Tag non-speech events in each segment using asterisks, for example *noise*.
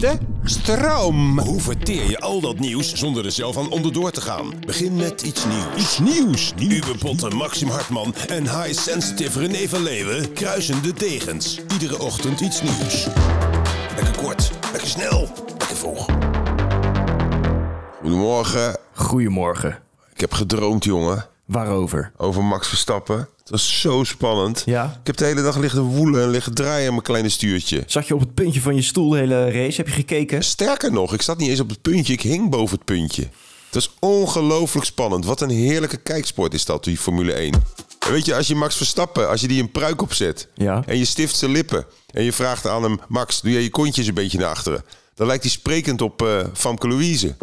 De stroom. Hoe verteer je al dat nieuws zonder er zelf aan onderdoor te gaan? Begin met iets nieuws. Iets nieuws. Uwe Potten, Maxim Hartman en high-sensitive René van Leeuwen kruisen de degens. Iedere ochtend iets nieuws. Lekker kort, lekker snel, lekker vroeg. Goedemorgen. Goedemorgen. Ik heb gedroomd, jongen. Waarover? Over Max Verstappen. Het was zo spannend. Ja. Ik heb de hele dag liggen woelen en liggen draaien aan mijn kleine stuurtje. Zat je op het puntje van je stoel de hele race? Heb je gekeken? Sterker nog, ik zat niet eens op het puntje. Ik hing boven het puntje. Het was ongelooflijk spannend. Wat een heerlijke kijksport is dat, die Formule 1. En weet je, als je Max Verstappen, als je die een pruik opzet... Ja. en je stift zijn lippen en je vraagt aan hem... Max, doe jij je kontjes een beetje naar achteren? Dan lijkt hij sprekend op eh Famke Louise.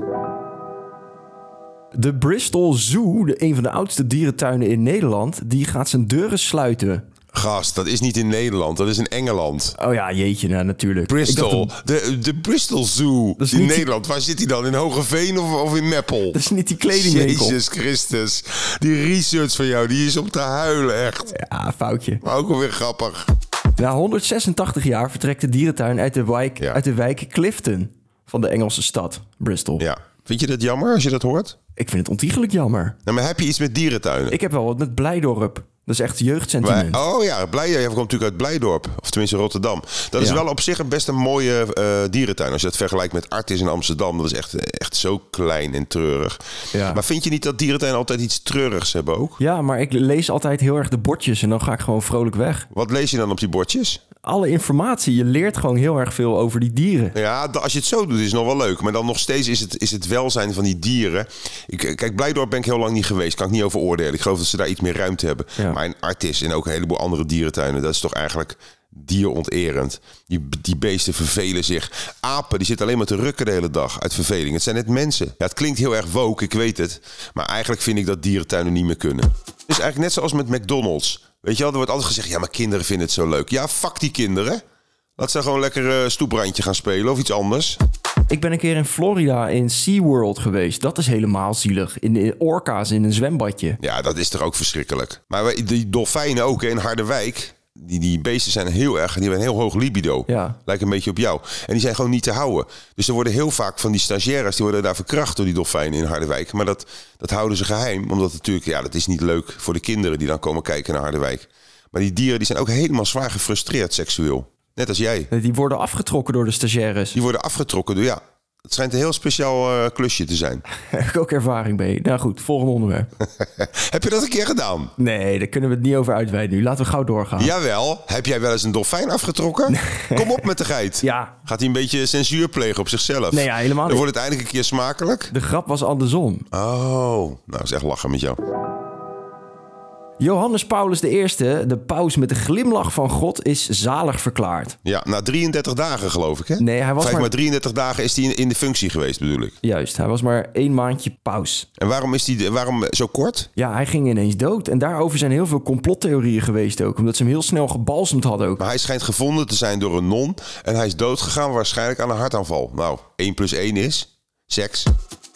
De Bristol Zoo, de, een van de oudste dierentuinen in Nederland, die gaat zijn deuren sluiten. Gast, dat is niet in Nederland, dat is in Engeland. Oh ja, jeetje, nou, natuurlijk. Ik Bristol, dacht, de, de Bristol Zoo Dat is in niet- Nederland. Waar zit hij dan? In Hogeveen of, of in Meppel? dat is niet die kledingwinkel. Jezus Christus. Die research van jou, die is om te huilen, echt. Ja, foutje. Maar ook alweer grappig. Na 186 jaar vertrekt de dierentuin uit de wijk, Ja. uit de wijk Clifton van de Engelse stad Bristol. Ja. Vind je dat jammer als je dat hoort? Ik vind het ontiegelijk jammer. Nou, maar heb je iets met dierentuinen? Ik heb wel wat met Blijdorp. Dat is echt jeugdsentiment. Wij- oh ja, Blijdorp. Jij komt natuurlijk uit Blijdorp. Of tenminste Rotterdam. Dat is Ja. wel op zich een best een mooie eh, dierentuin. Als je dat vergelijkt met Artis in Amsterdam. Dat is echt, echt zo klein en treurig. Ja. Maar vind je niet dat dierentuinen altijd iets treurigs hebben ook? Ja, maar ik lees altijd heel erg de bordjes en dan ga ik gewoon vrolijk weg. Wat lees je dan op die bordjes? alle informatie. Je leert gewoon heel erg veel over die dieren. Ja, da- als je het zo doet, is het nog wel leuk. Maar dan nog steeds is het, is het welzijn van die dieren. Ik, eh, kijk, Blijdorp ben ik heel lang niet geweest. Kan ik niet over oordelen. Ik geloof dat ze daar iets meer ruimte hebben. Ja. Maar in Artis en ook een heleboel andere dierentuinen, dat is toch eigenlijk dieronterend. Die, die beesten vervelen zich. Apen, die zitten alleen maar te rukken de hele dag uit verveling. Het zijn net mensen. Ja, het klinkt heel erg woke, ik weet het. Maar eigenlijk vind ik dat dierentuinen niet meer kunnen. Het is eigenlijk net zoals met McDonald's. Weet je wel, er wordt altijd gezegd, ja, maar kinderen vinden het zo leuk. Ja, fuck die kinderen. Laat ze gewoon lekker eh, stoeprandje gaan spelen of iets anders. Ik ben een keer in Florida in SeaWorld geweest. Dat is helemaal zielig. In de orka's in een zwembadje. Ja, dat is toch ook verschrikkelijk. Maar wij- die dolfijnen ook hè, in Harderwijk. Die, die beesten zijn heel erg. Die hebben een heel hoog libido. Ja. Lijkt een beetje op jou. En die zijn gewoon niet te houden. Dus er worden heel vaak van die stagiaires. die worden daar verkracht door die dolfijnen in Harderwijk. Maar dat, dat houden ze geheim. Omdat het natuurlijk. ja, dat is niet leuk voor de kinderen die dan komen kijken naar Harderwijk. Maar die dieren die zijn ook helemaal zwaar gefrustreerd seksueel. Net als jij. Die worden afgetrokken door de stagiaires. Die worden afgetrokken door. ja. Het schijnt een heel speciaal eh, klusje te zijn. *laughs* Daar heb ik ook ervaring mee. Nou goed, volgende onderwerp. Heb je dat een keer gedaan? Nee, daar kunnen we het niet over uitweiden nu. Laten we gauw doorgaan. Jawel. Heb jij wel eens een dolfijn afgetrokken? Kom op met de geit. *laughs* Ja. Gaat hij een beetje censuur plegen op zichzelf? Nee, ja, helemaal Dan niet. wordt het eindelijk een keer smakelijk. De grap was andersom. Oh, nou dat is echt lachen met jou. Johannes Paulus I, de paus met de glimlach van God, is zalig verklaard. Ja, na 33 dagen geloof ik hè? Nee, hij was Vijf maar... maar- 33 dagen is hij in, in de functie geweest bedoel ik. Juist, hij was maar één maandje paus. En waarom is hij waarom zo kort? Ja, hij ging ineens dood. En daarover zijn heel veel complottheorieën geweest ook. Omdat ze hem heel snel gebalsemd hadden ook. Maar hij schijnt gevonden te zijn door een non. En hij is doodgegaan waarschijnlijk aan een hartaanval. Nou, 1 plus 1 is seks.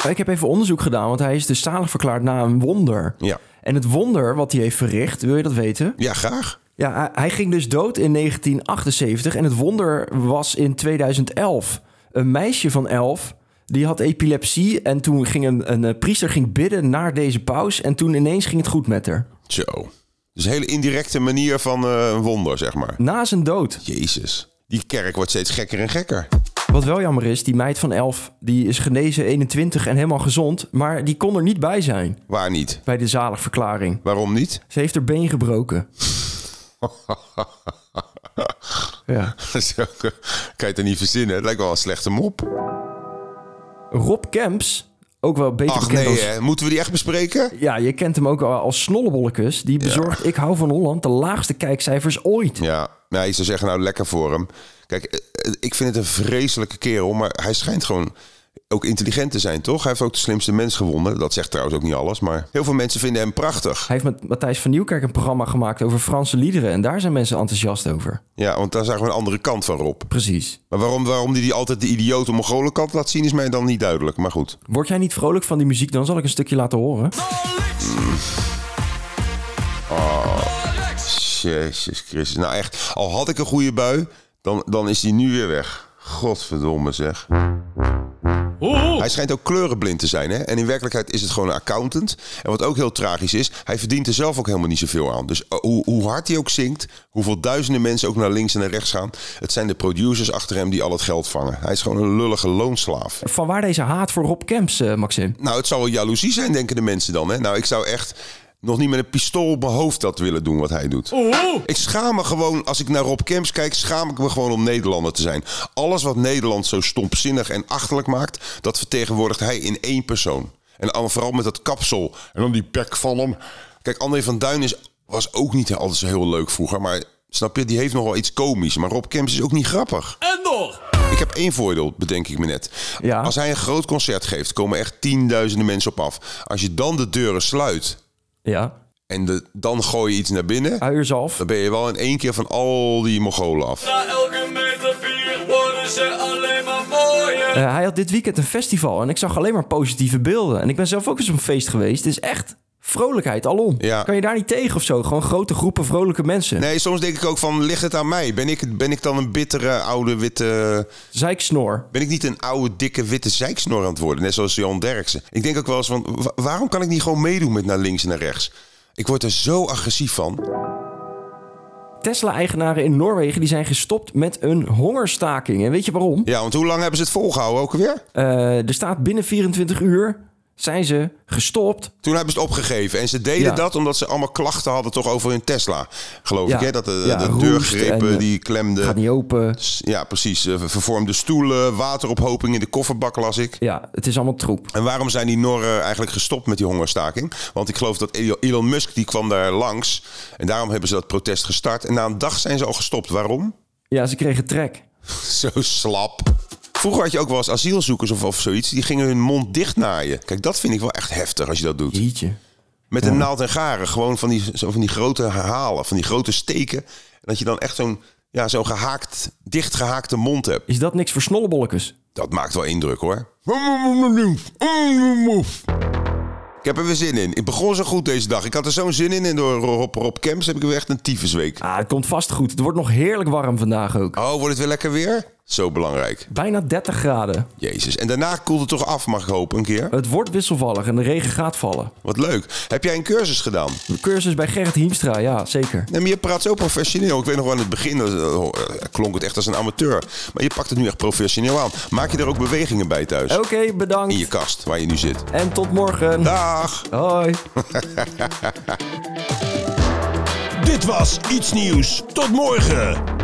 Ik heb even onderzoek gedaan, want hij is dus zalig verklaard na een wonder. Ja. En het wonder wat hij heeft verricht, wil je dat weten? Ja, graag. Ja, hij- hij ging dus dood in 1978 en het wonder was in 2011. Een meisje van 11, die had epilepsie en toen ging een, een eh, priester ging bidden naar deze paus en toen ineens ging het goed met haar. Zo. Dus een hele indirecte manier van eh, een wonder zeg maar. Na zijn dood. Jezus. die kerk wordt steeds gekker en gekker. Wat wel jammer is, die meid van 11, die is genezen 21 en helemaal gezond, maar die kon er niet bij zijn Waar niet? bij de zaligverklaring. Waarom niet? *laughs* Ze heeft haar been gebroken. ja. Zo eh, kan je het er niet verzinnen. Het lijkt wel een slechte mop. Rob Kemps, ook wel beter Ach bekend nee, als... hè. moeten we die echt bespreken? Ja, je kent hem ook wel als snollebollekes. Die bezorgt Ik hou van Holland de laagste kijkcijfers ooit. Ja, nou, je zou zeggen, nou lekker voor hem. Kijk, eh, eh, ik vind het een vreselijke kerel, maar hij schijnt gewoon ook intelligent te zijn, toch? Hij heeft ook de slimste mens gewonnen. Dat zegt trouwens ook niet alles, maar heel veel mensen vinden hem prachtig. Hij heeft met Matthijs van Nieuwkerk een programma gemaakt over Franse liederen. En daar zijn mensen enthousiast over. Ja, want daar zagen we een andere kant van Rob. Precies. Maar waarom, waarom die, die altijd de idiote Mongolenkant laat zien, is mij dan niet duidelijk. Maar goed. Word jij niet vrolijk van die muziek, dan zal ik een stukje laten horen. Jezus Christus. Nou echt, al had ik een goede bui, dan, dan is die nu weer weg. Godverdomme zeg. Hij schijnt ook kleurenblind te zijn. Hè? En in werkelijkheid is het gewoon een accountant. En wat ook heel tragisch is, hij verdient er zelf ook helemaal niet zoveel aan. Dus eh, hoe, hoe hard hij ook zingt, hoeveel duizenden mensen ook naar links en naar rechts gaan. Het zijn de producers achter hem die al het geld vangen. Hij is gewoon een lullige loonslaaf. Van waar deze haat voor Rob Kemps, eh, Maxim? Nou, het zal wel jaloezie zijn, denken de mensen dan. Hè? Nou, ik zou echt nog niet met een pistool op mijn hoofd dat willen doen wat hij doet. Ik schaam me gewoon, als ik naar Rob Kemps kijk, schaam ik me gewoon om Nederlander te zijn. Alles wat Nederland zo stompzinnig en achterlijk maakt, dat vertegenwoordigt hij in één persoon. En al- vooral met dat kapsel en dan die bek van hem. Kijk, André van Duin is, was ook niet altijd zo heel leuk vroeger, maar... Snap je, die heeft nog wel iets komisch. Maar Rob Kemps is ook niet grappig. Ik heb één voordeel, bedenk ik me net. Ja. Als hij een groot concert geeft, komen echt tienduizenden mensen op af. Als je dan de deuren sluit Ja. en de, dan gooi je iets naar binnen, Uierzalf. dan ben je wel in één keer van al die Mongolen af. Na elke meter bier worden ze alleen maar mooier. Eh, hij had dit weekend een festival en ik zag alleen maar positieve beelden. En ik ben zelf ook eens op een feest geweest. Het is echt vrolijkheid alom. Ja. Kan je daar niet tegen of zo? Gewoon grote groepen vrolijke mensen. Nee, soms denk ik ook van, ligt het aan mij? Ben ik, ben ik dan een bittere, oude, witte... Zeiksnor. Ben ik niet een oude, dikke, witte zeiksnor aan het worden? Net zoals Jan Derksen. Ik denk ook wel eens van, wa- waarom kan ik niet gewoon meedoen met naar links en naar rechts? Ik word er zo agressief van. Tesla-eigenaren in Noorwegen die zijn gestopt met een hongerstaking. En weet je waarom? Ja, want hoe lang hebben ze het volgehouden ook weer? Eh, er staat binnen 24 uur zijn ze gestopt. Toen hebben ze het opgegeven. En ze deden Ja. dat omdat ze allemaal klachten hadden toch over hun Tesla. Geloof Ja. ik, hè? Dat de, Ja, de roest deurgrepen, en, eh, die klemden. Gaat niet open. S- Ja, precies. Eh, ver- Vervormde stoelen, waterophoping in de kofferbak las ik. Ja, het is allemaal troep. En waarom zijn die Norren eigenlijk gestopt met die hongerstaking? Want ik geloof dat Elon- Elon Musk, die kwam daar langs. En daarom hebben ze dat protest gestart. En na een dag zijn ze al gestopt. Waarom? Ja, ze kregen trek. *laughs* Zo slap. Vroeger had je ook wel eens asielzoekers of, of zoiets. Die gingen hun mond dichtnaaien. Kijk, dat vind ik wel echt heftig als je dat doet. Jeetje. Met een naald en garen. Gewoon van die, zo van die grote halen, van die grote steken. En dat je dan echt zo'n ja, zo gehaakt, dichtgehaakte mond hebt. Is dat niks voor snollebollekes? Dat maakt wel indruk hoor. Ik heb er weer zin in. Ik begon zo goed deze dag. Ik had er zo'n zin in. En door Rob, Rob Camps heb ik weer echt een tyfusweek. Ah, het komt vast goed. Het wordt nog heerlijk warm vandaag ook. Oh, wordt het weer lekker weer? Zo belangrijk. Bijna 30 graden. Jezus. En daarna koelt het toch af, mag ik hopen, een keer. Het wordt wisselvallig en de regen gaat vallen. Wat leuk. Heb jij een cursus gedaan? De cursus bij Gerrit Hiemstra, ja, zeker. Nee, maar je praat zo professioneel. Ik weet nog wel aan het begin eh, klonk het echt als een amateur. Maar je pakt het nu echt professioneel aan. Maak je er ook bewegingen bij thuis? Oké, In je bedankt. kast, waar je nu zit. En tot morgen. Dag! Hoi. Dit was Iets Nieuws. Tot morgen.